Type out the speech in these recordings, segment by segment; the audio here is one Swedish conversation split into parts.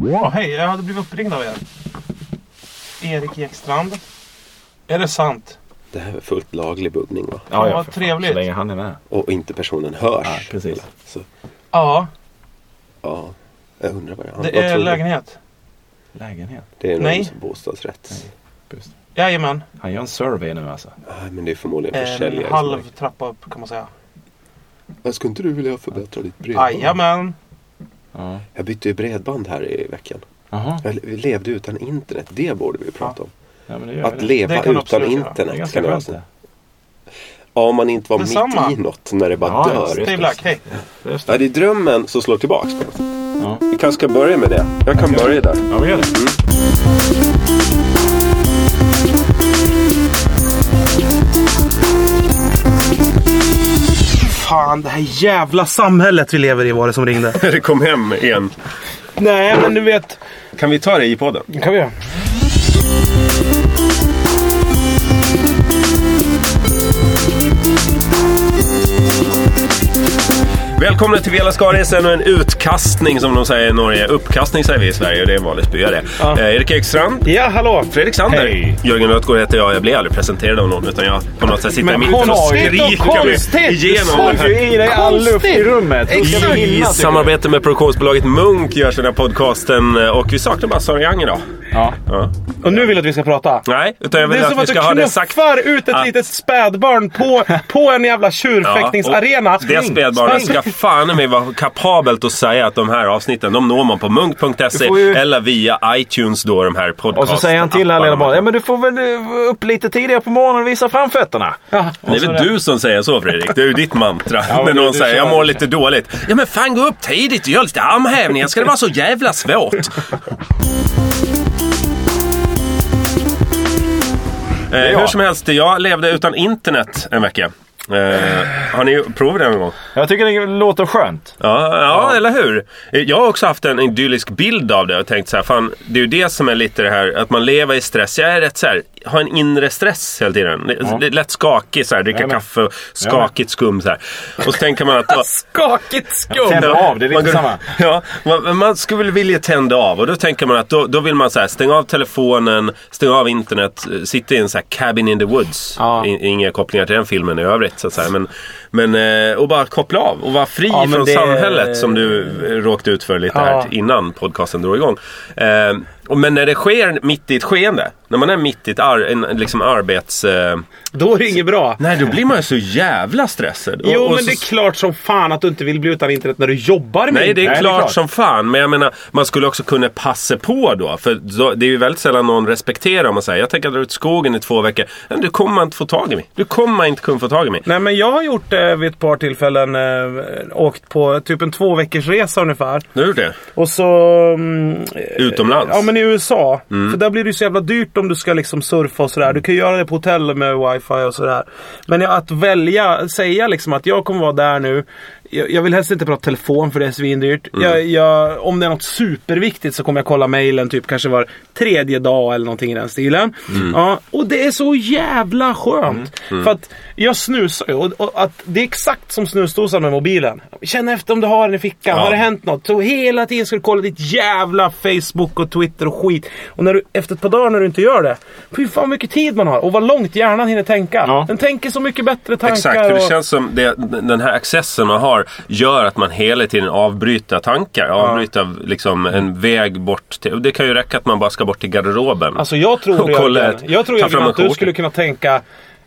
Ja, hej, jag hade blivit uppringd av er. Erik Ekstrand. Är det sant? Det här är fullt laglig buggning va? Ja, ja, vad för fan. trevligt. Så länge han är med. Och inte personen hörs. Ja, precis. Så, Ja, ja. Jag undrar vad det är. Vad det är tror du? lägenhet. Lägenhet. Det är någon Nej. som bostadsrätt. Just. Jajamän. Han gör en survey nu alltså. Nej. men det är förmodligen försäljare. En som Eh, halv har- trappa upp kan man säga. Men Skulle inte du vilja förbättra ditt bredband? Ah, Jajamän. Ja. Jag bytte ju bredband här i veckan. Jaha. Jag le- levde utan internet. Det borde vi prata om. Ja, men det gör Att vi det. leva Det kan du utan absolut göra. internet. Det är ganska kan jag skönt säga. det. Ja, om man inte var Detsamma. mitt i något när det bara Ja, ja, dör. visst. Stay black, hej. Just Ja, det. det är drömmen som slår tillbaks. på en. Ja. Vi kanske ska börja med det. Jag kan börja där. ja, vi gör det. Fan, det här jävla samhället vi lever i var det som ringde. Det kom hem igen. Nej, men du vet. Kan vi ta det i podden? Det kan vi göra. Välkomna till Vela Skaris, ännu en utkastning som de säger i Norge. Uppkastning säger vi i Sverige och det är en vanlig spya det. Ja. Eh, Erik Ekstrand. Ja, hallå. Fredrik Sander. Hej. Jörgen Rötgård heter jag. Jag blir aldrig presenterad av någon utan jag på något sätt sitter i Men mitten och konstigt och skriker mig konstigt. igenom. Du det sa här. ju i dig all luft i rummet. I samarbete med produktionsbolaget Munk görs den här podcasten eh, och vi saknar bara Sara Young idag. Ja. Ja. Och nu vill jag att vi ska prata. Nej, utan jag Det vill är att som vi att du ska ha det sagt. knuffar ut ett att- litet spädbarn på, på en jävla tjurfäktningsarena. och Det spädbarnet Spring. ska fan mig vara kapabelt att säga att de här avsnitten, de når man på munk.se Du får ju- eller via iTunes då, de här podcasten. Och så säger han till alla bara, ja men du får väl eh, upp lite tidigare på morgonen och visa framfötterna. Ja. Det är väl du som säger så Fredrik? Det är ju ditt mantra. men När du- någon du säger kör jag mår det. lite dåligt. Ja men fan gå upp tidigt och gör lite armhävningar. Ska det vara så jävla svårt? Eh, Hur som helst, jag levde utan internet en vecka. Eh, har ni provat det någon gång? Jag tycker det låter skönt. Ja, ja, eller hur? Jag har också haft en idyllisk bild av det och tänkt så här, fan, det är ju det som är lite det här att man lever i stress. Jag är rätt så här, har en inre stress hela tiden. L- Lätt skakig så här, dricka Jag med. kaffe och skakigt skum så här. Och så tänker man att... Alltså. Skakigt skum. Tänder av, det är man, lite samma. Ja, man, man skulle väl vilja tända av och då tänker man att då, då vill man så här, stänga av telefonen, stänga av internet, eh, sitta i en så här cabin in the woods. Ja. I, inga kopplingar till den filmen i övrigt så att säga. Men, men, eh, och bara koppla av och vara fri Ja, men från det- samhället som du eh, råkade ut för lite här Ja. innan podcasten drog igång. Eh, och- men när det sker mitt i ett skeende, när man är mitt i ett ar, en, liksom arbets... Eh, Då är det inget bra. nej, då blir man ju så jävla stressad. Och- Jo, och men så- det är klart som fan att du inte vill bli utan internet när du jobbar med Nej, det är, internet. klart som fan. Men jag menar, man skulle också kunna passa på då. För då, det är ju väldigt sällan någon respekterar om man säger jag tänker dra ut skogen i två veckor. Men du kommer inte få tag i mig. Du kommer inte kunna få tag i mig. Nej, men jag har gjort det vid ett par tillfällen. Eh, åkt på typ en två veckors resa ungefär. Nu är det Och så... mm, utomlands. Ja men i USA. För där blir det ju så jävla dyrt om du ska liksom surfa och sådär. Du kan ju göra det på hotell med wifi och sådär. Men ja, att välja, säga liksom att jag kommer vara där nu. Jag, jag vill helst inte prata telefon för det är svindyrt. Jag, jag, om det är något superviktigt så kommer jag kolla mailen typ kanske var tredje dag eller någonting i den stilen. Mm. Ja, och det är så jävla skönt. För att jag snusar ju och, och att det är exakt som snusdosan med mobilen. Känn efter om du har den i fickan. Ja. Har det hänt hänt något. Så hela tiden ska du kolla ditt jävla Facebook och Twitter och skit. Och när du, efter ett par dagar när du inte gör det. Fy fan vad mycket tid man har och vad långt hjärnan hinner tänka. Ja. Den tänker så mycket bättre tankar. Exakt, för och... det känns som det, den här accessen man har gör att man hela tiden avbryter tankar. Avbryter liksom en väg bort. Till, och det kan ju räcka att man bara ska bort till garderoben. Alltså jag tror Och kolla Jörgen, ett- jag tror ta Jörgen fram en att du skjorta. skulle kunna tänka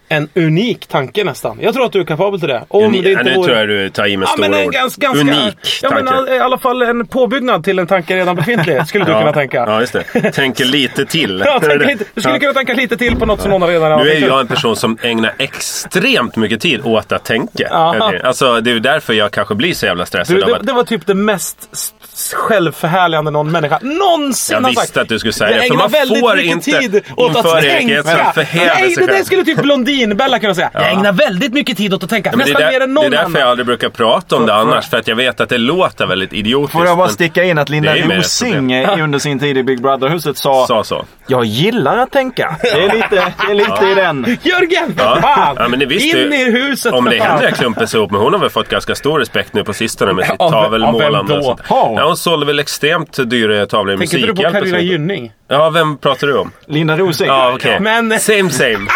en unik tanke nästan. Jag tror att du är kapabel till det. Om Uni- det ja, inte nu vore... tror jag du tar i med Ja, stora men en ord. ganska, ganska, Unik ja, men tanke. all- i alla fall en påbyggnad till en tanke redan befintlig skulle du kunna tänka. Ja, just det. Tänker lite till. Ja, Är det tänk det? lite, du skulle Ja. kunna tänka lite till på något som någon redan har Nu är ju tänkt. jag en person som ägnar extremt mycket tid åt att tänka. Ja. Alltså, det är ju därför jag kanske blir så jävla stressad. Du, av det, att- det var typ det mest s- s- självförhärligande någon människa någonsin Jag har visste sagt. att du skulle säga Jag det, för ägnar man väldigt får mycket inte tid åt inför att Erik tänka. Edström förhäva Nej, sig det där själv. skulle typ svinbella kan jag säga. Jag ägnar väldigt mycket tid åt att tänka. Ja, men det, Nästan är mer där, än det är någon därför annan. jag aldrig brukar prata om det annars, för att jag vet att det låter väldigt idiotiskt. Får jag bara men- sticka in att Linda Det är ju mer ett Rosing eh, under sin tid i Big Brother-huset sa, Sa så. Jag gillar att tänka. Det är lite, det är lite i den. Jörgen! Ja. Fan! Ja, men det visste In ju- i huset! Om det för fan. händer klumpes ihop med hon har väl fått ganska stor respekt nu på sistone med sitt Av- av vem tavelmålande. då? och sånt. Har hon? Ja, hon sålde väl extremt dyra tavlor i Tänker inte du på Musikhjälpen. Carina Gynning? Ja, vem pratar du om? Linda Rosing. Ja, okej. Men- Same same.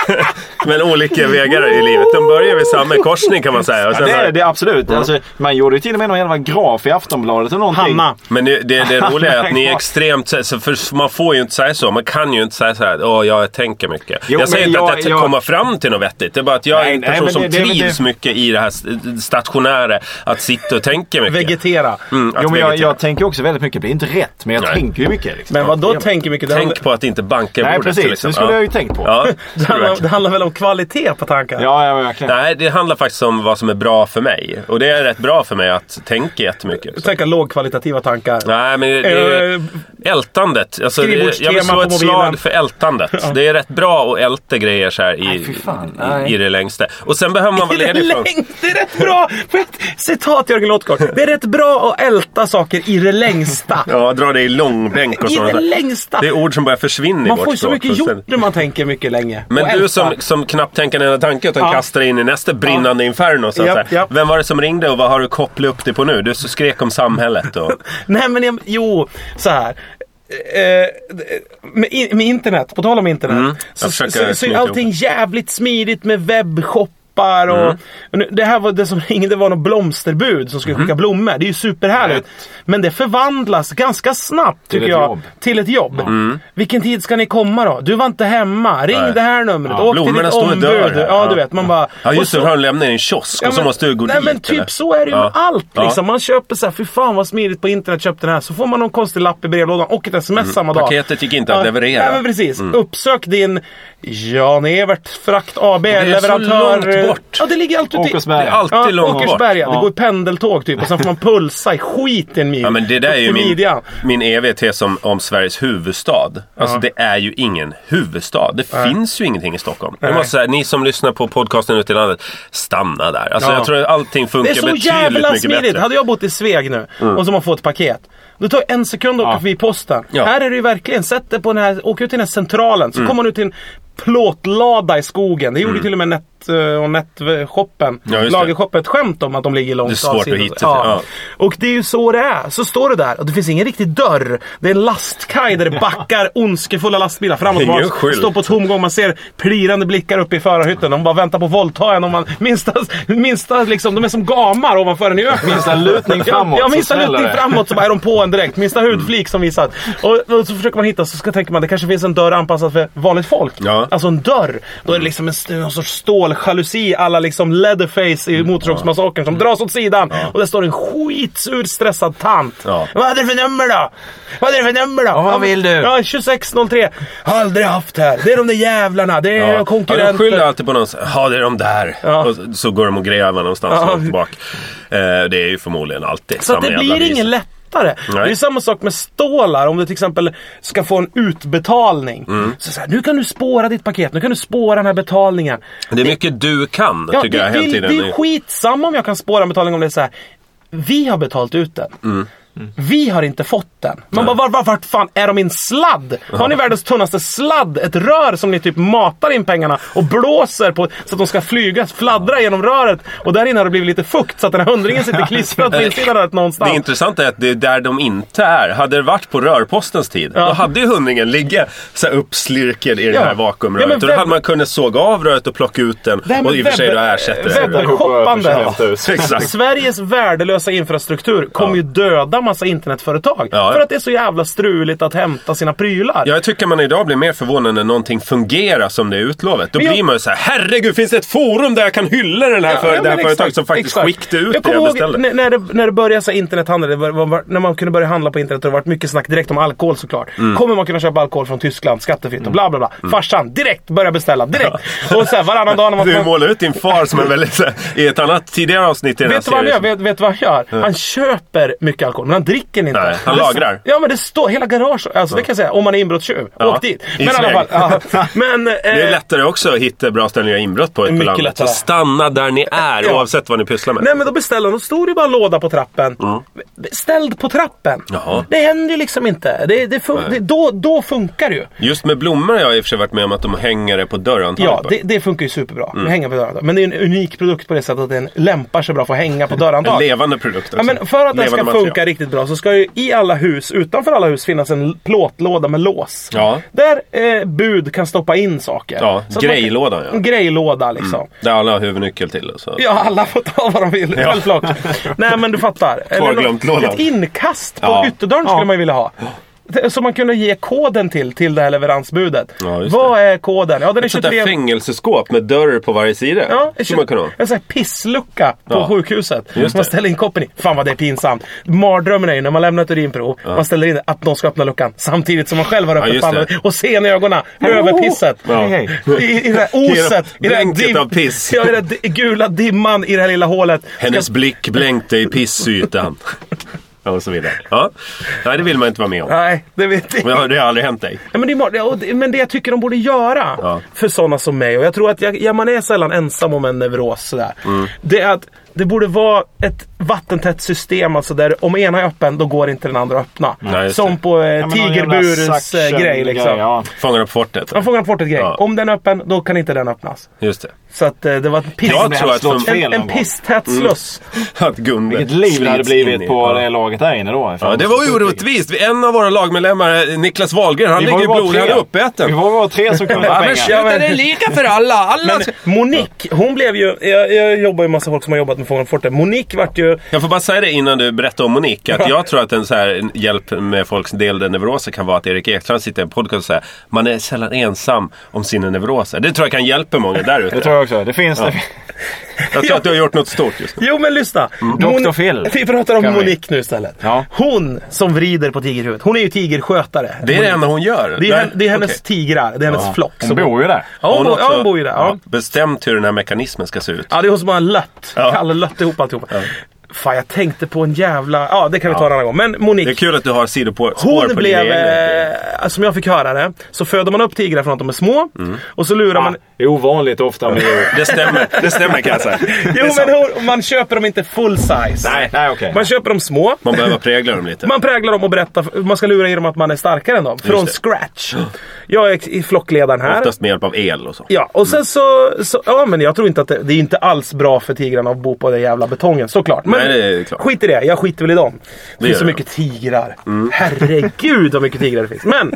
Men olika vägar i livet. De börjar vid samma korsning kan man säga. Och Ja, sen det har- är det är absolut. Alltså, man gjorde ju till och med någon jävla graf i Aftonbladet eller någonting. Hanna. Men det, det, det roliga är att ni är extremt... så- Så för man får ju inte säga så. Man kan ju inte säga så här att "Åh, jag tänker mycket. Jo, jag säger men inte att jag- jag, ska jag- komma fram till något vettigt. Det är bara att jag är Nej, en nej, person men som det- det- men trivs det- mycket i det här st- stationära. Att sitta och tänka mycket. Vegetera. Mm, att Jo, men jag, vegetera. jag tänker också väldigt mycket. Det blir inte rätt, men jag Nej. tänker ju mycket. Liksom. Men vad då Ja. tänker mycket? Det handlar- Tänk på att inte banka i Nej, bordet. precis. till exempel. Det skulle jag ju tänkt på. Ja, Det handlar, det handlar väl om kvalitet på tankar? Ja, ja, verkligen. Nej, det handlar faktiskt om vad som är bra för mig. Och det är rätt bra för mig att tänka jättemycket. Tänka lågkvalitativa tankar. Nej, men det, det är Eh, ältandet. Alltså, det, jag vill skrivbordstema slå på ett mobilen. slag för ältandet. Det är rätt bra att älta grejer så här i, Nej, fy fan. Nej. i, i det längsta. Och sen behöver man vara Det är, ledig från... längst, det är rätt bra! För ett citat Jörgen Låtgård. Det är rätt bra att älta saker i det längsta. Ja, dra det i långbänk och I sådant. det där. längsta! Det är ord som börjar försvinna i Man vårt får ju så språk mycket gjort fullständigt. när man tänker mycket länge. och Men ältar. du som, som knappt tänker en enda tanke utan Ja. kastar dig in i nästa brinnande inferno. Så att Japp, säga. japp. Vem var det som ringde och vad har du kopplat upp det på nu? Du skrek om samhället och... Nej men jag, jo, så här. Eh, med, in- med internet, på tal om internet. så, så, Mm, försöker så är knyta allting jävligt smidigt med webbshoppar och... Mm. och nu- Det här var det som ringde var något blomsterbud som skulle Mm-hmm. skicka blommor. Det är ju superhärligt. Men det förvandlas ganska snabbt tycker ett jag jobb. till ett jobb. Vilken tid ska ni komma då? Du var inte hemma. Ring Mm. Nej. det här numret. Ja, Åk till blommorna ditt står och ombud. dör här. Ja, du Ja. vet. Man bara... Ja och just så- det, då har de lämnat i en kiosk och så men- måste du gå nej, dit. men typ eller? så är det ju med Ja. allt. Ja. Liksom. Man köper så här, fy fan vad smidigt på internet, köpte den här. Så får man någon konstig lapp i brevlådan och ett sms samma dag. Mm. Paketet gick inte att Ja, leverera. Mm. Nej, men precis. Uppsök din Jan-Evert Frakt AB, är så leverantör. långt bort. Ja, det ligger alltid Åkersberga. Det är alltid långt bort. Åkersberga. Det Ja. går i pendeltåg typ och sen får man pulsa i skiten mil. Ja, men det där är ju Upp till min, midjan. min eviga tes om, om Sveriges huvudstad. Alltså det är ju ingen huvudstad. Det finns ju ingenting i Stockholm. Jag måste säga, ni som lyssnar på podcasten ute i landet, stanna där. Alltså Ja. jag tror att allting Det funkar är så betydligt jävla mycket smidigt. bättre. Mm. Hade jag bott i Sveg nu och så man får ett paket. Det tar en sekund att åka Ja. förbi posten. Ja. Mm. Här är det ju verkligen, sätt dig på den här, åk ut till den här centralen. Så kommer man ut till en plåtlada i skogen. Det gjorde till och med Net, eh, och Netshoppen, Ja, just det. Lagershoppen, ett skämt om att de ligger långt Det är svårt avsides. att hitta till, ja. Och det är ju så det är. Så står du där och det finns ingen riktig dörr. Det är en lastkaj där det backar ondskefulla lastbilar fram och Ingen tillbaka. skylt. Står på tomgång, man ser plirande blickar uppe i förarhytten. De bara väntar på våldtagen. Och man, minsta, minsta liksom, de är som gamar ovanför en i öknen. Minsta lutning framåt Ja, ja så minsta smäller lutning det. Mm. framåt så bara är de på en direkt. Minsta hudflik som visat. Och, och så försöker man hitta, så ska, tänker man det kanske finns en dörr anpassad för vanligt folk. Ja. Alltså en dörr. Då är det liksom en, st- någon sorts ståljalusi alla liksom Leatherface Mm. i Motorsågsmassakern som dras åt sidan. Och där står en skitsur stressad tant. Ja. Vad hade du för nummer då? Vad hade du för nummer då? vad Ja, men- vill du? Ja, 2603. Har aldrig haft här. Det är de där jävlarna. Det är Ja. konkurrenter. Ja, de skyller alltid på någon. så- Ja, det är de där. Ja. Och så- så går de och gräver någonstans Ja. långt bak. Eh, det är ju förmodligen alltid Så att samma det jävla blir vis. ingen lättare. Det är ju samma sak med stålar. Om du till exempel ska få en utbetalning. Mm. Så, så här, nu kan du spåra ditt paket, nu kan du spåra den här betalningen. Det är mycket du kan, Ja, tycker det, jag, hela det, tiden. det är skitsamma om jag kan spåra en betalning om det är så här. Vi har betalt ut den. Mm. Vi har inte fått den. Man bara, var, var, vart fan är de min sladd? Har ni världens tunnaste sladd? Ett rör som ni typ matar in pengarna och blåser på så att de ska flyga, fladdra genom röret. Och där inne har det blivit lite fukt så att den här hundringen sitter klistrad på insidan av röret någonstans. Det intressanta är att det är där de inte är. Hade det varit på rörpostens tid, då hade ju hundringen ligga så här uppslirkad i det Ja. här vakuumröret. Ja, men och då vem- hade man kunnat såga av röret och plocka ut den här med och i och för sig webb- då ersätta webben- det. Hoppande. Exakt. Sveriges värdelösa infrastruktur kommer ju döda massa internetföretag. Ja. För att det är så jävla struligt att hämta sina prylar. Jag tycker man idag blir mer förvånad när någonting fungerar som det är utlovat. Då Men jag- blir man ju såhär, herregud finns det ett forum där jag kan hylla den här Ja, för, ja, det här men företaget exakt, som faktiskt exakt. skickade jag ut det jag kommer beställde? ihåg när, när, det, när det började så här internethandel, det var, var, när man kunde börja handla på internet och det varit mycket snack direkt om alkohol såklart. Mm. Kommer man kunna köpa alkohol från Tyskland skattefritt och bla bla bla. Farsan direkt börja beställa, direkt. Och så här, varannan dag när man Du målar ut din far som en väldigt, så här, i ett annat tidigare avsnitt i den här Vet du vad han serien. gör? Vet, vet du vad han gör? Han köper mycket alkohol. men han dricker inte. Nej, han Det- lagrar. Ja, men det står hela garaget. Alltså det kan jag säga, om man är inbrottstjuv. Ja. Åk dit. I Men i alla smyg. fall. ja. Men, eh, Det är lättare också att hitta bra ställen att göra inbrott på ute på Mycket landet. lättare. Så stanna där ni är Ja. oavsett vad ni pysslar med. Nej men då beställer hon. Då stod det bara en låda på trappen. Ställd på trappen. Jaha. Det händer ju liksom inte. Det, det fun- det, då, då funkar det ju. Just med blommor har jag i och för sig varit med om att de hänger det Mm. på dörrhandtaget. Ja, bara. det, det funkar ju superbra. Hänga på dörrhandtag. Men det är en unik produkt på det sättet att den lämpar sig bra för att hänga på En dörrhandtag. levande produkt. också. Ja, men för att den Levande ska material. funka riktigt bra så ska ju i alla hus, utanför alla hus, finnas en l- plåtlåda med lås. Ja. Där eh, bud kan stoppa in saker. Ja, Så att man- grejlådan ja. En grejlåda liksom. Där alla har huvudnyckel till. Så. Ja, alla får ta vad de vill. Självklart. Nej, men du fattar. Kvarglömt-lådan. Ett inkast på Ja. ytterdörren skulle man ju vilja ha. Som man kunde ge koden till, till det här leveransbudet. Ja, just vad är koden? Ja, den är Ett sånt där 23... fängelseskåp med dörr på varje sida. Ja, som man kan ha. en sån här pisslucka på Ja. sjukhuset. Just Som man det. ställer in koppen i. Fan vad det är pinsamt. Mardrömmen är ju när man lämnar ett urinprov. Man ställer in att någon ska öppna luckan samtidigt som man själv har öppet just pannan. det. Oh! Och ser i ögonen över pisset. Ja. Hej, hej. I, I det här oset. I det här Blänket av piss. Ja, i den här gula dimman i det här lilla hålet. Hennes blick blänkte i pissytan. ja, och så vidare. Ja. Nej, det vill man inte vara med om. Nej, det vet jag. Men har- det har aldrig hänt dig. Ja, Men det, är mar- ja, och det- men det jag tycker de borde göra Ja. för sådana som mig, och jag tror att jag, ja, man är sällan ensam om en neuros sådär. Mm. Det är att det borde vara ett vattentätt system, alltså där om ena är öppen då går inte den andra att öppna. Nej, just som det. på eh, Ja, men någon jävla tigerburens eh, grej suction-grej, liksom. ja. Fångarna på fortet. Man fångar bort ett grej. Ja. Om den är öppen, då kan inte den öppnas. Just det. Så att eh, det var ett piss, Jag Det tror hade att Mm. slått de- en, fel någon en gång. pisstät sluss. Att Gunde Vilket liv det hade slits in i- blivit på Ja. det laget där inne då. Ja, det var ju orättvist. En av våra lagmedlemmar, eh, Niklas Wahlgren, han Vi ligger var ju ju bara blodiga tre. Vi uppäten. var ju bara tre som kunde få Annars pengar. Ja, men- det är lika för alla. alla ska- Monique, hon blev ju... Jag, jag jobbar ju med massa folk som har jobbat med Fångarna på fortet. Monique vart ju... Jag får bara säga det innan du berättar om Monique. Att jag tror att en så här en hjälp med folks delade neuroser kan vara att Erik Ekstrand sitter i en podcast och säger man är sällan ensam om sina neuroser. Det tror jag kan hjälpa många där ute. Det tror jag också. Det finns det. Jag tror att du har gjort något stort just nu. Jo men lyssna. Mm. Dr. Mon- Phil. Vi pratar om Kan vi. Monique nu istället. Ja. Hon som vrider på tigerhuvudet. Hon är ju tigerskötare. Det är det enda hon gör. Det är, Nej, hen- det är hennes okej. tigrar. Det är hennes flock. Hon bor ju där. Ja, hon, Har bor- ja, också hon bor ju där. Ja. Bestämt hur den här mekanismen ska se ut. ja, det är hon som har lött. Ja. Kalle lött ihop alltihopa. Fan, jag tänkte på en jävla... Ja, det kan vi ta en annan gång. Men Monique. Det är kul att du har sidospår på Hon dina blev, egna- eh, som jag fick höra det, så föder man upp tigrar från att de är små. Mm. Och så lurar man... Ah, Det är ovanligt ofta med Det stämmer, det stämmer kan jag säga. Jo, men hon, man köper dem inte full size. Nej. Nej, okej. Man köper dem små. Man behöver prägla dem lite. Man präglar dem och berättar, man ska lura i dem att man är starkare än dem. Från det. scratch. Jag är i flockledaren här. Oftast med hjälp av el och så. Ja, och sen så, så... Ja, men jag tror inte att det, det är inte alls bra för tigrarna att bo på den jävla betongen, såklart. Men Nej, det är klart. skit i det, jag skiter väl i dem. Det gör Mm. finns så du. mycket tigrar. Herregud vad mycket tigrar det finns. Men...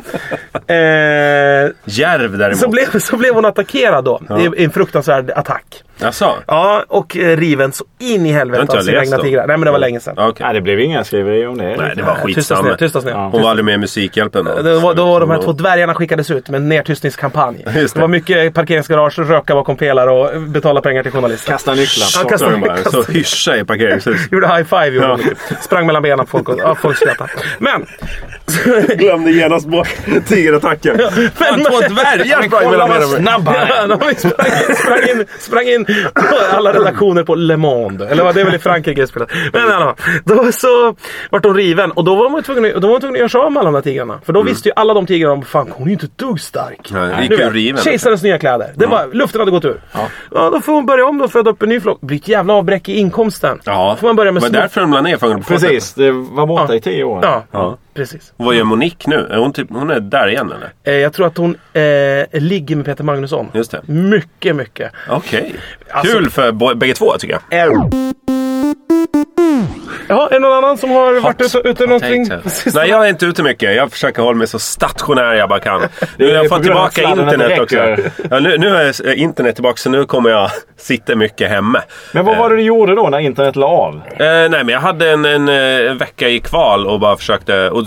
Eh, Järv däremot. så, blev, så blev hon attackerad då. I, I en fruktansvärd attack. Jaså? Ja, och eh, riven så in i Det har helvete inte av jag sina läst egna då. tigrar. Nej, men det var länge sedan. Ja, okej. Nej, det blev inga skriverier om det. Nej, det var Tysta skitsamma. ner, tysta ner. Hon var aldrig med i Musikhjälpen då. Det var, då var de här två dvärgarna skickades ut med en nedtystningskampanj. Just Det. det. var mycket parkeringsgarage, röka bakom pelare och betala pengar till journalister. Kasta nycklar. Han Så kastade de bara, så hyscha i parkeringshuset. Gjorde high-five. gjorde de. Sprang mellan benen på folk och ja, folk skrattade. Men... Glömde genast bort tigerattacken. Fan, två dvärgar sprang mellan benen. på mig. snabb han är. De sprang, sprang, in, sprang in på alla redaktioner på Le Monde. Eller vad det är väl i Frankrike det spelas. Men i alla fall, då så vart hon riven och då var man tvungen, att- då var man tvungen att göra sig av med alla de där tigrarna. För då visste ju alla de tigrarna om fan hon är ju inte ett dugg stark. Mm. Nej, det gick Nu ju vet, riven. Kejsarens nya kläder. Det var, Luften hade gått ur. Ja. då får hon börja om då, föda upp en ny flock. Det blir ett jävla avbräck i inkomsten. Ja, får man börja med men små- därför de la ner Fångarna på fortet. Precis, det var borta Ja. i tio år. Ja, Ja. precis. Vad gör Monique nu? Är hon, typ, hon är där igen eller? Eh, jag tror att hon eh, ligger med Peter Magnusson. Just det. Mycket, mycket. Okej. Mm. Alltså- Kul för bo- bägge två tycker jag. Ja, är det någon annan som har varit ute, ute någonting? Nej, jag är inte ute mycket. Jag försöker hålla mig så stationär jag bara kan. Nu har är jag på fått grund av tillbaka sladden att det internet också. räcker. Ja, nu, nu är eh, internet tillbaka, så nu kommer jag sitta mycket hemme. Men vad var det du gjorde då när internet la av? Eh, nej, men jag hade en, en, eh, en vecka i kval och bara försökte... Och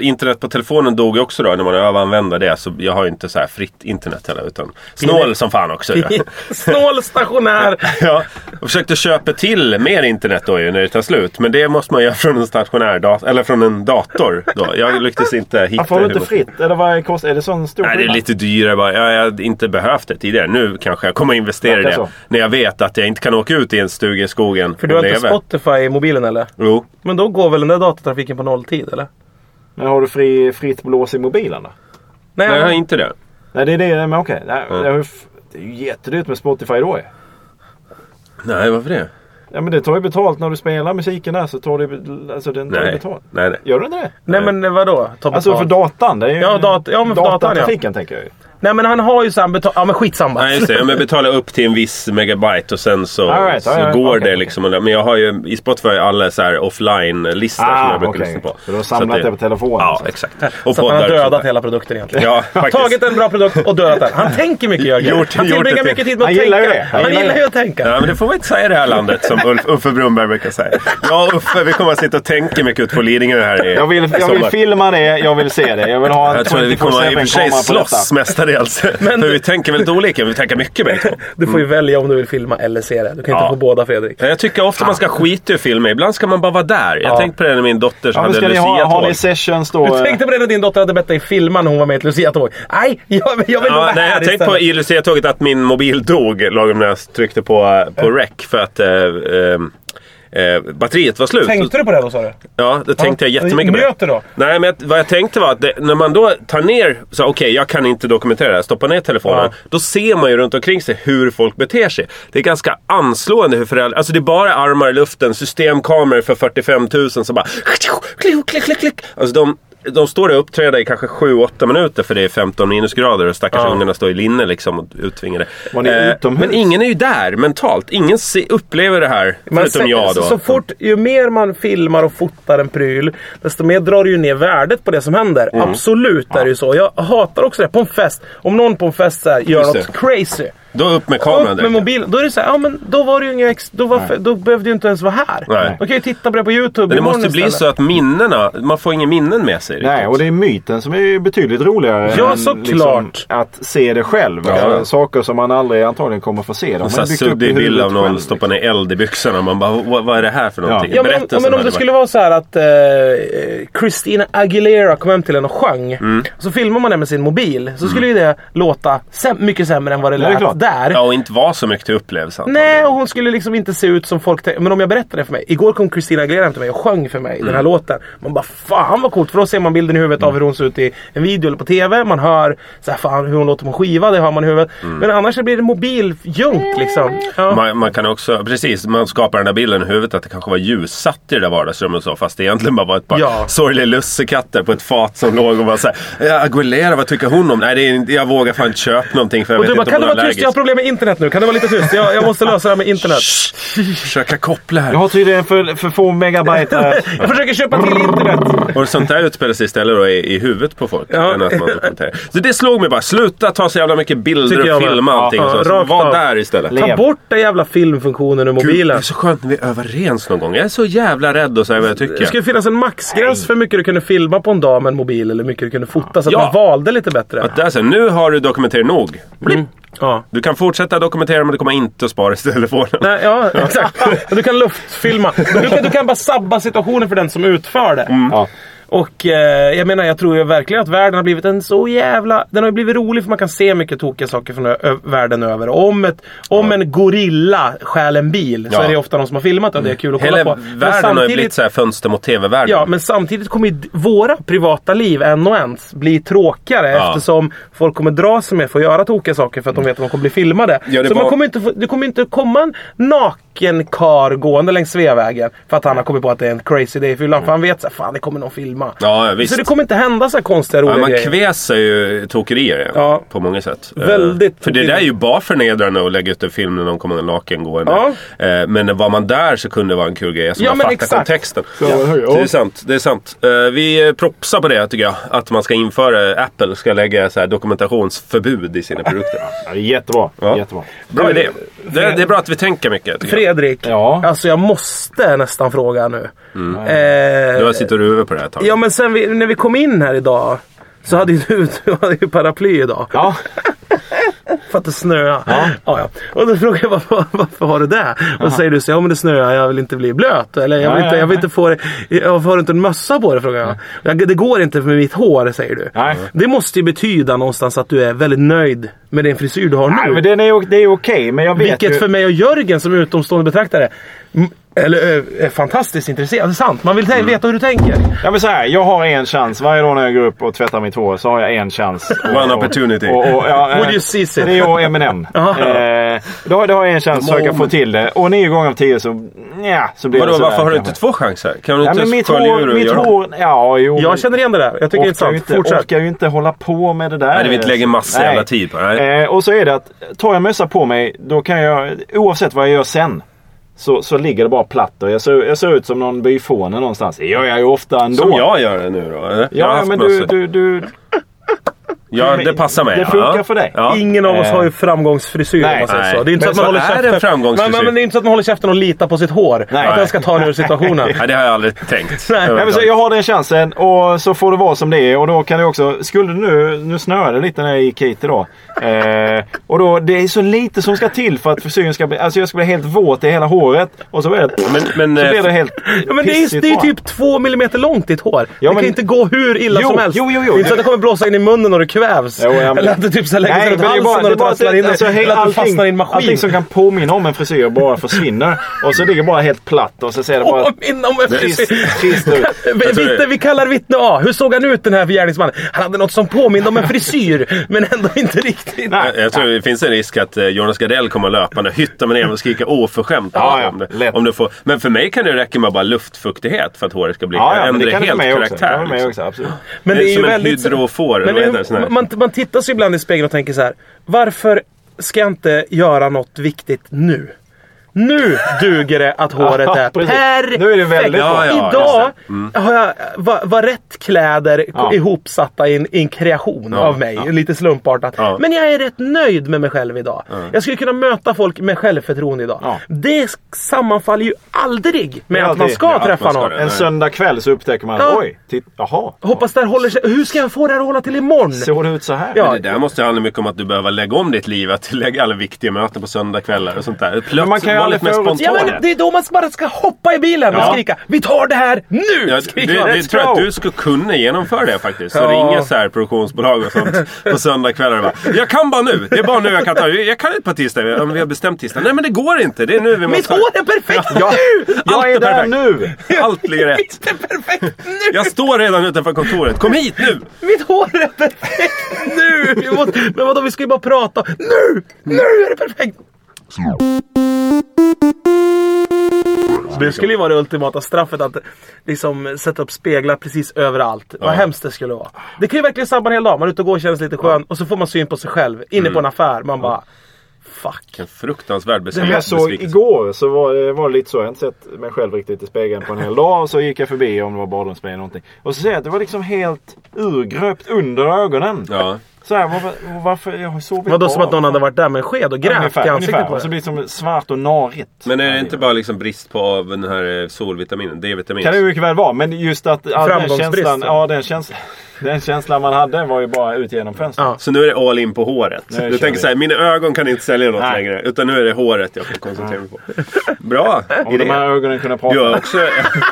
internet på telefonen dog ju också då när man överanvände det. Så jag har ju inte så här fritt internet heller. Utan snål som fan också. ju. Snål stationär. ja, och försökte köpa till mer internet då ju när det tar slut. Men det det måste man göra från en stationär dator. Eller från en dator. Då. Jag lyckades inte hitta Man får hur inte man- fritt? Eller vad kostar Är det sån stor Nej, det är skillnad? lite dyrare bara. Jag, jag hade inte behövt det tidigare. Nu kanske jag kommer att investera i Verkar det. så. När jag vet att jag inte kan åka ut i en stuga i skogen För du och har inte leva. Spotify i mobilen eller? Jo. Men då går väl den där datatrafiken på nolltid eller? Men har du fri, fritt blås i mobilen då? Nej, Nej, jag har inte det. Nej, det är det. Men okej. Nej, Mm. det är ju f- Det är ju jättedyrt med Spotify då ju. Nej, varför det? Ja, men det tar ju betalt när du spelar musiken där. Så tar det, alltså, den tar ju Nej. betalt. Nej, nej. Gör du inte det? nej men vadå? Ta Alltså för betalt. datan. Det är ju Ja, dat- ja, men för datan, ja. datatrafiken tänker jag ju. Nej men han har ju så här betal... Ja men skitsamma. Nej, just det. Om jag betalar upp till en viss megabyte och sen så, All right, så all right. går Okej, det okej. liksom. Men jag har ju i Spotify alla så här offline-listor som jag brukar Ah, okej. lyssna på. Så du har samlat att det på telefonen, Ja, så. exakt. Så att han poddar har och sånt dödat där. hela produkten egentligen. Ja, faktiskt. Tagit en bra produkt och dödat den. Han tänker mycket Jörgen. Gjort- han gjort tillbringar det. mycket tid med att Han tänka. gillar ju det. Han han gillar gillar det. ju att tänka. Ja, men det får vi inte säga i det här landet som Ulf, Uffe Brunnberg brukar säga. Jag och Uffe, vi kommer att sitta och tänka mycket ute på Lidingö här i Jag vill, jag vill sommar. filma det, jag vill se det. Jag vill ha en Jag tror att vi 24/7 kommer i och för sig kamera på detta. slåss mestadels. Men- För vi tänker väldigt olika, vi tänker mycket bägge två. Du får ju välja om du vill filma eller se det. Du kan inte Mm. Ja. få båda Fredrik. Jag tycker ofta man ska skita i filmer, ibland ska man bara vara där. Jag Ja. tänkte på det när min dotter Ja, men hade ska ni ha, har ni luciatåg. sessions då? eh, Du tänkte på det när din dotter hade bett dig filma när hon var med i ett Lucia-tåg. Nej, jag, jag vill nog vara Ja, nej, här jag tänkte på i luciatåget att min mobil dog lagom när jag tryckte på, på rec för att eh, eh, eh, batteriet var slut. Tänkte du på det då sa du? Ja, det tänkte Ja. jag jättemycket på. Njöt du då? Nej, men jag- vad jag tänkte var att det, när man då tar ner, så okej jag kan inte dokumentera det här, stoppa ner telefonen. Ja. Då ser man ju runt omkring sig hur folk beter sig. Det är ganska anslående hur föräldrar, alltså det är bara armar i luften, systemkameror för 45 000 som bara klick, klick, klick, klick. Alltså de, de står där och uppträder i kanske 7-8 minuter för det är 15 minusgrader och stackars Ja. ungarna står i linne liksom och utvingade. Var ni utomhus? men ingen är ju där mentalt. Ingen se, upplever det här, Man förutom sä- jag då. Så fort, ju mer man filmar och fotar en pryl, desto mer drar du ju ner värdet på det som händer. Mm. Absolut är det ju så. Jag hatar också det. På en fest, om någon på en fest så här, gör Just något det. crazy. Då upp med kameran Upp med direkt. mobilen. Då är det så här, ja men då var det ju inga ex- då, var fe- då behövde du inte ens vara här. Nej. Då kan jag ju titta på det på YouTube Men det imorgon måste bli istället. så att minnena, man får inga minnen med sig riktigt. Nej, och det är myten som är betydligt roligare. Ja, än liksom såklart. att se det själv. Ja. Saker som man aldrig antagligen kommer få se. De En har sån här byggt upp i suddig bild huvudet av någon själv, liksom. stoppa ner eld i byxorna. Man bara, vad, vad är det här för någonting? Ja, men, om- Berättelsen men om hade det varit- skulle vara så här att eh, Christina Aguilera kom hem till en och sjöng. Mm. Så filmar man det med sin mobil så skulle ju det låta säm- mycket sämre än vad det Ja, det är lät klart. där. Ja, och inte vara så mycket till upplevelsen. Nej, och hon skulle liksom inte se ut som folk tänker. Men om jag berättar det för mig. Igår kom Christina Aguilera hem till mig och sjöng för mig den Mm. här låten. Man bara fan vad coolt. För då ser man bilden i huvudet av hur hon ser ut i en video eller på TV. Man hör så här, fan, hur hon låter på en skiva. Det hör man i huvudet. Men annars så blir det mobiljunk liksom. Ja. Mm. Man, man kan också, precis, man skapar den där bilden i huvudet att det kanske var ljussatt i det där vardagsrummet och så, fast det egentligen bara var ett par Ja. sorgliga lussekatter på ett fat som låg och var såhär "Ja, Aguilera, vad tycker hon om? Nej, det är, inte- jag vågar fan inte köpa någonting för jag och vet du bara, inte kan om du hon är vara tyst? allergisk. Jag har problem med internet nu. Kan du vara lite tyst? Jag, jag måste lösa det här med internet. Försöka koppla här. Jag har tydligen för, för få megabyte här. Jag försöker köpa till internet. Och sånt där utspelar sig istället då i, i huvudet på folk. Ja. Än att man dokumenterar. så det slog mig bara. Sluta ta så jävla mycket Tycker bilder jag och med. filma Ja, allting. ja, och så. rakt Var av. där istället. Lev. Ta bort den jävla filmfunktionen ur Gud, det mobilen. är så skönt när vi är överens någon gång. Jag är så jävla rädd att säga vad jag Det tycker. skulle finnas en maxgräns för hur mycket du kunde filma på en dag med en mobil eller hur mycket du kunde fota så att Ja. man valde lite bättre. Att det är så, här, nu har du dokumenterat nog. Mm. Ja. Du kan fortsätta dokumentera men du kommer inte att spara i telefonen. Nej, ja, exakt. Du kan luftfilma. Du kan, du kan bara sabba situationen för den som utför det. Mm. Ja. Och eh, jag menar, jag tror ju verkligen att världen har blivit en så jävla... Den har ju blivit rolig för man kan se mycket tokiga saker från ö- ö- världen över. Om, ett, om en gorilla stjäl en bil så Ja. är det ofta någon som har filmat det och det är kul att kolla Hela på. Men världen har ju blivit så här fönster mot tv-världen. Ja, men samtidigt kommer ju d- våra privata liv en och ens bli tråkigare Ja. eftersom folk kommer dra sig med för att göra tokiga saker för att de vet att de kommer bli filmade. Ja, det så man var- kommer inte, få- det kommer inte komma en naken kar gående längs Sveavägen för att han har kommit på att det är en crazy day i fyllan. För han vet att fan det kommer någon filma. Ja, ja, visst. Så det kommer inte hända så här konstiga Ja, roliga man grejer. kväser ju tokerier Ja. på många sätt. Eh, Väldigt För det där är tokerier. ju bara förnedrande att lägga ut en film när någon kommer naken gående. Ja. Eh, Men var man där så kunde det vara en kul grej. Alltså Ja, man men fattar exakt. kontexten. Ja, ja. Det är sant. Det är sant. Eh, Vi eh, propsar på det tycker jag. Att man ska införa, Apple ska lägga så här dokumentationsförbud i sina produkter. Ja, det är Jättebra. Ja. Jättebra. Bra idé. Det, det är bra att vi tänker mycket. tycker jag. Fredrik, Ja. alltså jag måste nästan fråga nu. Du Eh, har suttit och ruvat på Mm. det här ett tag. ja, men sen vi, när vi kom in här idag så hade ju du, du hade ju paraply idag. Ja. För att det snöar. Ja. Ja, Och då frågar jag varför, varför har du det? Och då säger du så ja men det snöar, jag vill inte bli blöt. Eller jag vill Ja, inte, ja, jag vill ja. inte få det. "Ja, Varför har du inte en mössa på dig? Frågar jag. jag. Det går inte med mitt hår, säger du. Nej. Det måste ju betyda någonstans att du är väldigt nöjd med den frisyr du har Nej, nu. men den är, o- det är okej, men jag vet Vilket ju... för mig och Jörgen som utomstående betraktare m- eller, ö, är fantastiskt intresserande. Sant, man vill Mm. tä- veta hur du tänker. Jag vill säga, jag har en chans. Varje dag när jag går upp och tvättar mitt hår så har jag en chans. Och- One opportunity. Och, och, ja, eh, Would you seize it? Det är jag och Eminem. eh, Ja. då, har- då har jag en chans att försöka få till det. Och nio gånger av tio så... Nja, så blir Vadå, det sådär, varför har du kanske. inte två chanser? Kan du Ja, inte men mitt skölja ur hår, och mitt göra hår... Ja, jo. men- Jag känner igen det där. Jag tycker det är orkar ju, intressant. inte, Fortsätt. orkar ju inte hålla på med det där. Nej, det vill inte lägga massa Nej. jävla tid på. Nej. Eh, och så är det att tar jag mössa på mig, då kan jag, oavsett vad jag gör sen, så, så ligger det bara platt. Och jag, ser, jag ser ut som någon byfåne någonstans. Det gör jag ju ofta ändå. Som jag gör det nu då? eller? Jag har Ja, haft men du, mössa. du, du... ja, det passar mig. det funkar ja. för dig. Ja. Ingen av oss Eh. har ju framgångsfrisyr om nej. man säger så. Nej. Det är inte så Men att man så håller är det en käften. framgångsfrisyr. Men, men det är inte så att man håller käften och litar på sitt hår. Nej. Att den ska ta den ur situationen. Nej, det har jag aldrig tänkt. Nej, Nej, men så, jag har den chansen och så får det vara som det är. Och då kan det också... Skulle det nu... Nu snöade det lite när jag gick hit idag. Eh, och då, det är så lite som ska till för att frisyren ska bli... Alltså jag ska bli helt våt i hela håret. Och så är det... Men, men, så blir eh, det helt Ja, men det är, pissigt det är bara. typ två millimeter långt ditt hår. det kan men- inte gå hur illa Jo, som helst. jo, jo, jo. Det är inte så att det kommer blåsa in i munnen och du kvävs. Jo, ja, men- Eller att du typ så här lägger sig Nej, runt men det är halsen bara, det är och bara att trasslar in det, dig. alltså, eller hej, att du fastnar i en allting, maskin. allting som kan påminna om en frisyr bara försvinner. Och så ligger bara helt platt och så ser det bara Åh, minne om en trist, frisyr. trist ut. Alltså, Jag tror Vittne, det. vi kallar vittne A. Hur såg han ut den här gärningsmannen? Han hade något som påminde om en frisyr, men ändå inte riktigt. Nej. Jag- eh, Jag tror det finns en risk att eh, Jonas Gardell kommer löpande, hytta med ner och skrika oförskämt. Ja, ja, om det, lätt. om du får. Men för mig kan det räcka med bara luftfuktighet för att håret ska bli Ja, ja, men ändra det kan det helt med också. Det karaktär. kan det med liksom. också, absolut. Men Det är det är ju som en väldigt... hydrofor, Men vad heter det- det, sån här- man, man tittar sig ibland i spegeln och tänker så här. Varför ska jag inte göra något viktigt nu? Nu duger det att håret är Ja, precis. perfekt! Nu är det väldigt bra. Ja, Mm. ja, Idag har jag, var, var rätt kläder Ja. ihopsatta i en, i en kreation av mig. Lite slumpartat. Ja. Men jag är rätt nöjd med mig själv idag. Jag skulle kunna möta folk med självförtroende idag. Ja. Det s- sammanfaller ju aldrig med att Aldrig man ska att träffa man ska någon. det. En söndag kväll så upptäcker man Ja. oj, titt, jaha. Hoppas det här håller sig. Hur ska jag få det här att hålla till imorgon? Såg det ut så här? Ja. Det där måste ju handla mycket om att du behöver lägga om ditt liv. Att lägga alla viktiga möten på söndagkvällar och sånt där. Plötsligt, man kan ju var aldrig lite mer förutse- Ja, spontan. men det är då man bara ska hoppa i bilen och Ja. skrika Vi tar det här nu! Jag, det, skriker man. det Let's tror jag att go! du skulle kunna genomföra det faktiskt. Så Ja. ringer så här produktionsbolag och sånt på söndagkvällar och bara, Jag kan bara nu! Det är bara nu jag kan ta det. Jag kan inte på tisdag. Ja, men vi har bestämt tisdag. Nej men det går inte. Det är nu vi måste... Mitt hår är perfekt Ja. nu! Allt Jag är är där perfekt. nu! Allt ligger rätt. Mitt är perfekt nu! Jag står redan utanför kontoret. Kom hit nu! Mitt hår är perfekt nu! Vi måste, men vadå, vi ska ju bara prata. Nu! Nu är det perfekt! Det skulle ju vara det ultimata straffet att liksom sätta upp speglar precis överallt. Vad hemskt det skulle vara. Det kan ju verkligen sabba en hel dag. Man är ute och går och känns lite skön och så får man syn på sig själv inne på en Mm. affär. Man bara... Fuck. En fruktansvärd Men jag såg besvikelse. igår så var det, var det lite så. Jag har inte sett mig själv riktigt i spegeln på en hel dag. Och så gick jag förbi om det var badrumsspegel eller någonting. Och så ser jag att det var liksom helt urgröpt under ögonen. Ja. Så här, varför, varför? Jag har sovit Vadå bra. som att någon hade varit där med en sked och grävt i Ungefär, ansiktet ungefär. på Och så dig? blir Alltså, det som svart och narigt. Men är det inte bara liksom brist på av den här eh, solvitaminen? D-vitamin? Kan det mycket väl vara. Men just att all den Framgångsbrist, känslan, då? ja, den, käns den känslan man hade var ju bara ut genom fönstret. Ja. Så nu är det all in på håret. Nu du kör tänker vi. såhär, mina ögon kan inte sälja något Nej. längre. Utan nu är det håret jag får koncentrera mig på. Bra Om de här idé. ögonen kunde prata. Du har också...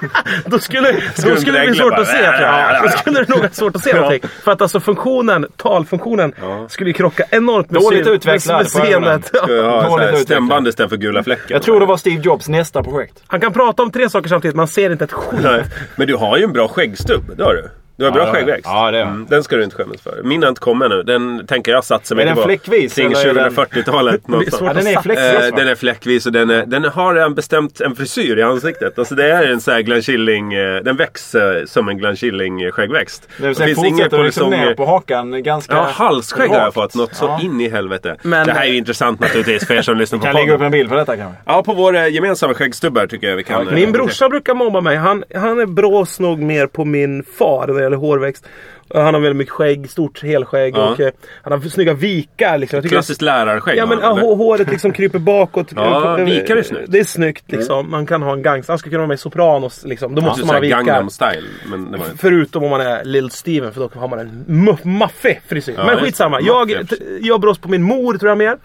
Då skulle, då skulle det bli Skumdägler svårt bara. att se tror jag. Då skulle det nog vara svårt att se någonting. För att alltså funktionen, talfunktionen, skulle ju krocka enormt med, Dåligt syn- utvecklad med på ögonen. seendet. Ja. Du har så Dåligt här utvecklat. stämband istället för gula fläcken. Jag tror det var Steve Jobs nästa projekt. Han kan prata om tre saker samtidigt, man ser inte ett skit. Nej. Men du har ju en bra skäggstubb. Det har du. Du har det bra har jag. skäggväxt. Mm, Ja, det har jag. Den ska du inte skämmas för. Min har inte kommit nu. Den tänker jag satsa mig Är den på fläckvis, Kring eller är den- 2040-talet någonstans. svårt Ja, den är satt- fläckvis. Eh, den är fläckvis och den, är, den har en bestämt en frisyr i ansiktet. Alltså det är en sån här Glenn Killing, eh, den växer som en Glenn Killing eh, skäggväxt. Det vill säga fortsätter liksom ner på hakan ganska Ja, halsskägg har jag rakt. fått. Något så Ja. in i helvete. Men- det här är ju intressant naturligtvis för er som lyssnar på Kan jag lägga upp podden. en bild på detta kanske? Ja, på våra gemensamma skäggstubbar tycker jag vi kan... eh, Min brorsa brukar mobba mig. Han, han är brås nog mer på min far när det gäller hårväxt. Och Han har väldigt mycket skägg, stort helskägg Ja. och eh, han har snygga vikar. Liksom. Jag tycker- Klassiskt lärarskägg. Ja men har han, eller? hå- håret liksom kryper bakåt. Ja, vikar är snyggt. Det är snyggt liksom. Man kan ha en gangster. Han skulle kunna vara med i Sopranos liksom. Då Måste måste man ha vikar. Gangnam style. Men det var inte. Förutom om man är Lil Steven för då har man en mu- maffig frisyr. Ja, Men just skitsamma. det. Jag, Maffig t- jag brås på min mor tror jag mer.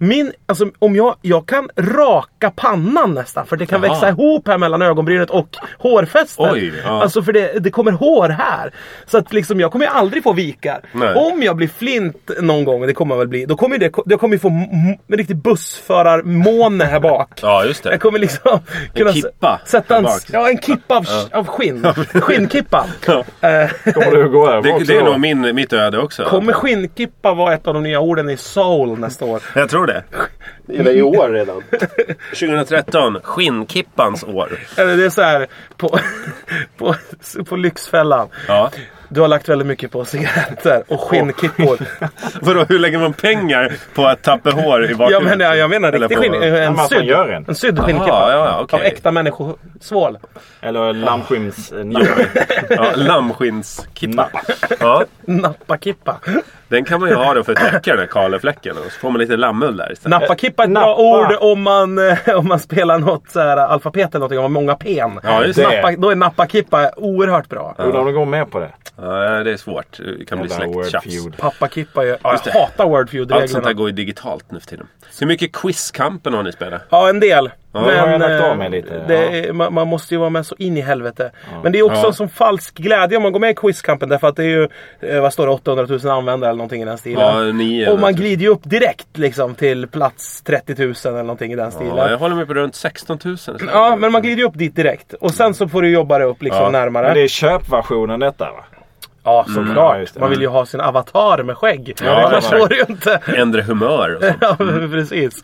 Min, alltså om jag, jag kan raka pannan nästan för det kan Jaha. växa ihop här mellan ögonbrynet och hårfästet. Oj, ja. Alltså för det, det kommer hår här. Så att liksom jag kommer ju aldrig få vikar. Nej. Om jag blir flint någon gång, det kommer jag väl bli, då kommer ju det, jag kommer ju få m- m- en riktig bussförarmåne här bak. Ja, just det. Jag kommer liksom kunna s- kippa sätta här en, bak. ja, en kippa av, av skinn. Skinnkippa. Ja. Eh, Kommer du gå över Det, också det är då? nog min, mitt öde också. Kommer skinnkippa vara ett av de nya orden i soul nästa år? Jag tror det. Eller i år redan. 2013. Skinnkippans år. Eller det är så här på, på, på Lyxfällan. Ja. Du har lagt väldigt mycket på cigaretter och skinnkippor. Vadå, hur lägger man pengar på att tappa hår i bakhuvudet? Jag menar, jag menar Eller riktig på- skinn, en, man får sydd, göra en. en sydd Aha, skinnkippa. ja, ja, okej. Av äkta människosvål. Eller lammskinsnjure. Ja, Lammskinnskippa. Ja, Nappakippa. den kan man ju ha då för att täcka den här kalefläcken. Och så får man lite lammull där istället. Nappakippa är Eh, ett bra Nappa. ord om man, eh, om man spelar något så här, alfabet eller någonting, om man har många pen. Ja, just det. Nappa, då är nappakippa oerhört bra. Undrar om de går med på det. Ja, det är svårt. Det kan bli Jävla släkttjafs. wordfeud. Pappakippa är... Ja, jag det. hatar Allt sånt där Wordfeud-reglerna. går ju digitalt nu för tiden. Hur mycket Quizkampen har ni spelat? Ja, en del. det har jag lagt eh, av mig lite, det ja. är, man, man måste ju vara med så in i helvete. Men det är också Ja. en sån falsk glädje om man går med i Quizkampen. Därför att det är ju, eh, vad står det, 800 000 användare eller någonting i den stilen. Ja, nio och man eller- glider ju upp direkt liksom till plats 30 000 eller någonting i den stilen. Ja, jag Ja, håller mig på runt 16 000. men man glider ju upp dit direkt. Och sen så får du jobba dig upp liksom Ja. närmare. Men det är köpversionen detta va? Ja, såklart. Mm. Ja, just det. man vill ju ha sin avatar med skägg. det är Annars klart. får du ju inte. Ändra humör och sånt. Ja, precis.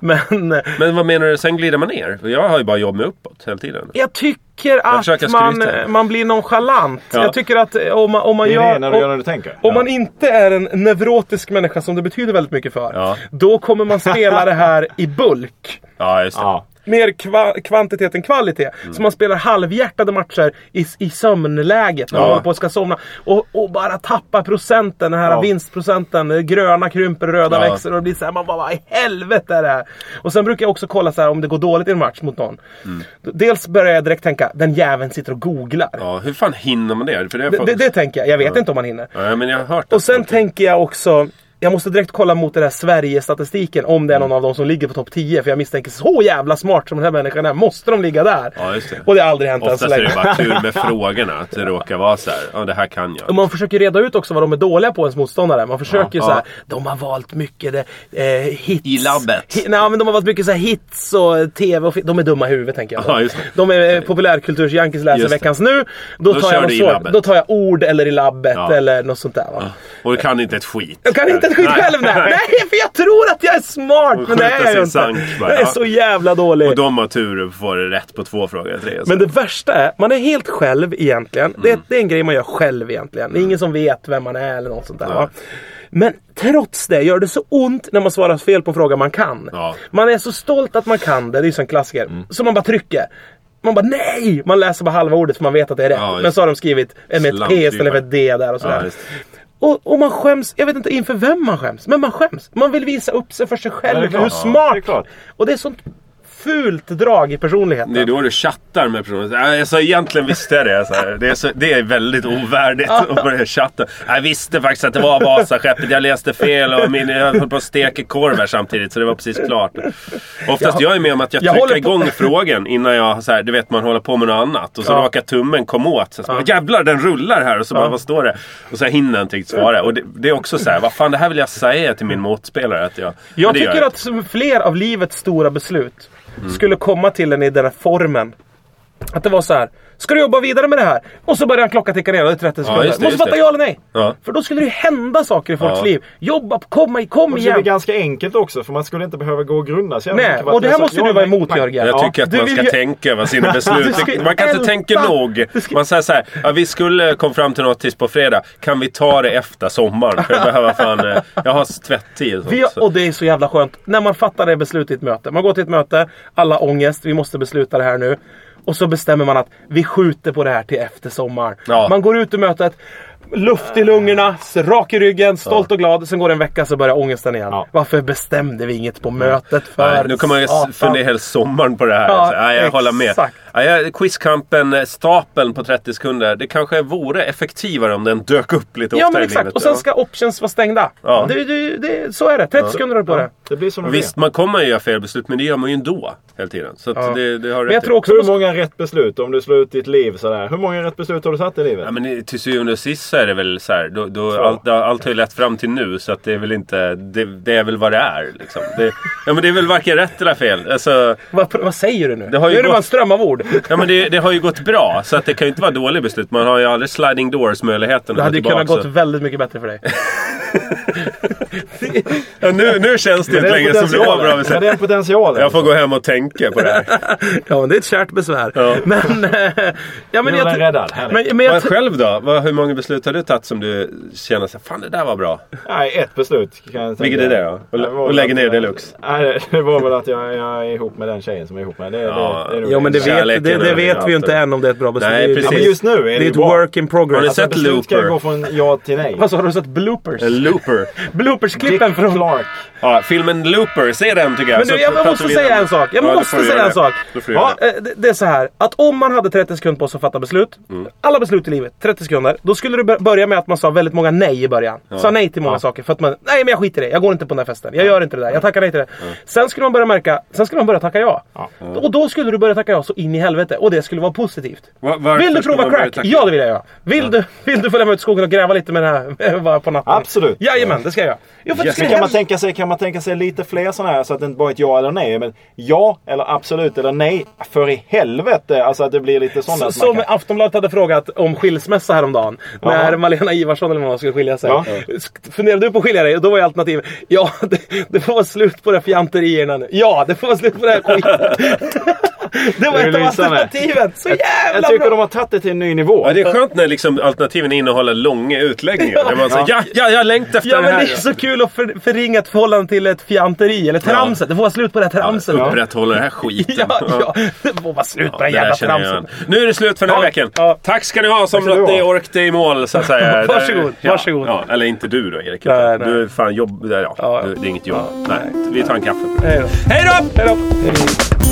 Men eh, Men vad menar du, sen glider man ner? Jag har ju bara jobb med uppåt hela tiden. Jag tycker att försöker man, eh, skryta. man blir nonchalant. Ja. Jag tycker att eh, om man, om man Det är gör... det när du gör om- när du tänker. om man inte är en neurotisk människa som det betyder väldigt mycket för. Ja. Då kommer man spela det här i bulk. Ja, just det. Ja. Mer kva- kvantitet än kvalitet. Mm. Så man spelar halvhjärtade matcher i, i sömnläget. När Ja. man håller på att ska somna. Och, och bara tappar procenten, den här Ja. vinstprocenten. Det Gröna krymper, röda Ja. växer. Och det blir så här, man bara vad i helvete är det här? Och sen brukar jag också kolla så här, om det går dåligt i en match mot någon. Mm. Dels börjar jag direkt tänka, den jäveln sitter och googlar. Ja, hur fan hinner man det? För det, Det, är det, faktiskt- det tänker jag. Jag vet inte om man hinner. Ja, men jag har hört Och sen tänker jag också jag måste direkt kolla mot den här Sverige-statistiken om det är någon av dem som ligger på topp 10. För jag misstänker så jävla smart som den här människan är. Måste de ligga där? Ja, just det. Och det har aldrig hänt än Oftast så är länge. det bara kul med frågorna. Att det råkar vara så här. Ja, det här kan Och jag. Man försöker reda ut också vad de är dåliga på, ens motståndare. Man försöker Ja, så här, ja. de har valt mycket det, eh, hits. I labbet. Hi, nej, men de har valt mycket så här hits och eh, tv och fi- De är dumma i huvudet tänker jag. Ja, just det. De är eh, populärkultursjankies läser Just det. veckans nu. Då, Då tar kör jag du i något svårt. labbet. Då tar jag ord eller i labbet Ja. eller något sånt där. Va? Och du kan inte ett skit. Jag kan inte ett skit Nej. själv nej. Nej, för jag tror att jag är smart Och men det är skjuta jag sig ju i inte. sank bara. Jag är så jävla dålig. Och de har tur och får det rätt på två frågor. Tre, Mm. Men det värsta är, man är helt själv egentligen. Mm. Det, det är en grej man gör själv egentligen. Det är ingen som vet vem man är eller något sånt där. Va? Men trots det gör det så ont när man svarar fel på en fråga man kan. Ja. Mm. Man är så stolt att man kan det, det är ju så en klassiker. Så man bara trycker. Man bara nej! Man läser bara halva ordet för man vet att det är rätt. Ja, just Men så har de skrivit med ett P istället för ett D där och Ja, sådär. just det. Och, och man skäms, jag vet inte inför vem man skäms, men man skäms. Man vill visa upp sig för sig Ja, det själv, är klart. hur Ja, det är smart. klart. och det är sånt fult drag i personligheten. Det är då du chattar med personen. Nej, Alltså, egentligen visste jag det. Så här. Det, är så, det är väldigt ovärdigt att börja chatta. Jag visste faktiskt att det var Vasaskeppet. Jag läste fel och min, jag höll på att steka korv här samtidigt så det var precis klart. Oftast jag är med om att jag, jag trycker håller på- igång frågan innan jag, så här, du vet man håller på med något annat. Och så Ja. råkar tummen komma åt. Så här, så bara, Jävlar den rullar här och så bara vad står det? Och så här, hinner jag inte riktigt svara. Och det, det är också så här, vad fan det här vill jag säga till min motspelare. Att jag, men Jag det Mm. gör tycker att som fler av livets stora beslut skulle komma till en i den här formen. Att det var så här. Ska du jobba vidare med det här? Och så börjar han klocka ticka ner och det är 30 sekunder. just det, Måste just fatta det. ja eller nej. Ja. För då skulle det ju hända saker i folks Ja. liv. Jobba, komma i, kom Och så är det igen. ganska enkelt också för man skulle inte behöva gå och grunna så jävla Nej, mycket på att och det här jag sa, måste ja, du vara men- emot, Jörgen. Jag Ja. tycker att Du man vill ska ju- tänka över sina beslut. Du ska man kan inte älta. tänka nog. Du ska- Man säger så här, ja, vi skulle komma fram till något tills på fredag. Kan vi ta det efter sommaren? För jag behöver fan... eh, Jag har tvättid och sånt. Vi, och det är så jävla skönt. När man fattar det beslutet i ett möte. Man går till ett möte, alla ångest, vi måste besluta det här nu. Och så bestämmer man att vi skjuter på det här till efter sommaren. Ja. Man går ut ur mötet. Luft i lungorna, s- rak i ryggen, stolt och glad. Sen går det en vecka så börjar ångesten igen. Ja. Varför bestämde vi inget på mötet för Nej, nu kommer jag satan? s- fundera hela sommaren på det här. Ja, alltså. Nej, jag exakt. håller med. Ja, jag, quizkampen, eh, stapeln på 30 sekunder. Det kanske vore effektivare om den dök upp lite Ja oftare men i exakt, livet. och sen ja. ska options vara stängda. Ja. Det, det, det, så är det, 30 sekunder har du på det. Det blir som det Visst, man kommer ju göra fel beslut, men det gör man ju ändå. Hela tiden. Så att Ja. det, det typ har Men jag rätt tror i. också... blir. Hur många rätt beslut om du slår ut ditt liv sådär? Hur många rätt beslut har du satt i livet? Ja, men i- till syvende och sist så är det väl så här. Då, då, Två. allt, allt har ju lett fram till nu så att det är väl inte... Det, det är väl vad det är liksom. Det, ja, men det är väl varken rätt eller fel. Alltså, Vad, vad säger du nu? Det har ju nu är det gått- bara en ström av ord. ja, men det, det har ju gått bra så att det kan ju inte vara dåliga beslut. Man har ju aldrig sliding doors-möjligheten. Det hade ju kunnat gått väldigt mycket bättre för dig. Ja, nu, nu känns det inte längre som det var bra. Men det är potentialen. Jag får gå hem och tänka på det här. ja, men det är ett kärt besvär. Ja. Men... eh, ja, men Nu är den tr- räddad. Härligt. Men, men Men jag, tr- själv då? Vad, hur många beslut har du tagit som du känner så här, fan det där var bra? Nej, ett beslut kan jag tänka. Vilket är det då? Och- Nej, det var och väl lägger att ner jag- deluxe. Nej, det- det var väl att jag, jag är ihop med den tjejen som jag är ihop med. Det, Ja. det, det är nog jo, men det Kärleken vet, det, det är vet vi ju inte överallt. än om det är ett bra beslut. Nej, Det är- precis. Ja, men just nu är det Det är ju ett bra. work in Har ni progress. sett- Alltså, beslut kan ju Looper. gå från ja till nej. Alltså, har du sett bloopers? En looper. Bloopers-klippen Dick från... Clark. Ja, filmen Looper, se den tycker jag. Men Så du, jag pratar måste vi säga vidare. en sak. Jag Alltså, Ja, då måste får du säga göra en det. sak. Då får du göra Ja, det. eh, det- det är så här. Att om man hade 30 sekunder på sig att fatta beslut. Mm. Alla beslut i livet, 30 sekunder. Då skulle du bör- börja med att man sa väldigt många nej i början. Sa nej till många saker. För att man, nej men jag skiter i det. Jag går inte på den här festen. Jag gör inte det där. Jag tackar nej till det. Sen skulle man börja märka, sen skulle man börja tacka ja. Och då skulle du börja tacka ja så in i helvete. Och det skulle vara positivt. Va- varför Vill du skulle prova man börja crack? tacka? Ja det vill jag göra. Vill, du, vill du följa med ut i skogen och gräva lite med den här bara på natten? Absolut. Jajamän, det ska jag göra. Jo, för att det Yes. ska Men kan man, helst- tänka sig, kan man tänka sig lite fler sådana här så att det inte bara är ett ja eller nej. Men ja eller absolut eller nej. För i helvete. Alltså att det blir lite sådana. Så, som Aftonbladet hade frågat om skilsmässa häromdagen. När Ja. Malena Ivarsson eller vad man skulle skilja sig. Ja. Sk- Funderade du på att skilja dig? Och då var ju alternativet Ja, det, det får vara slut på det här fjanterierna nu. Ja, det får vara slut på det här skiten. det var Det är ett av lysande. alternativen. Så jävla jag tycker bra! de har tagit det till en ny nivå. Ja, det är skönt när liksom alternativen innehåller långa utläggningar. Ja. Där man säger ja, ja, jag längtar efter Ja det men det här. är så kul att för, förringa ett förhållande till ett fjanteri eller tramset. Det får vara slut på det här tramset. Ja, Upprätthåller den här skiten. ja, det får vara slut på det här Det där jävla känner jag tramset. igen. Nu är det slut för den här Ja, veckan. ja. Tack ska ni ha som ska du att ni ha. orkade i mål så att säga. Varsågod, Ja, varsågod. Ja, eller inte du då Erik. Nej, utan nej. Du är fan jobb... där, Ja, Ja. ja. Du, det är inget jobb. nej, vi tar en kaffe. Hej då. Hej då! Hej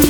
då!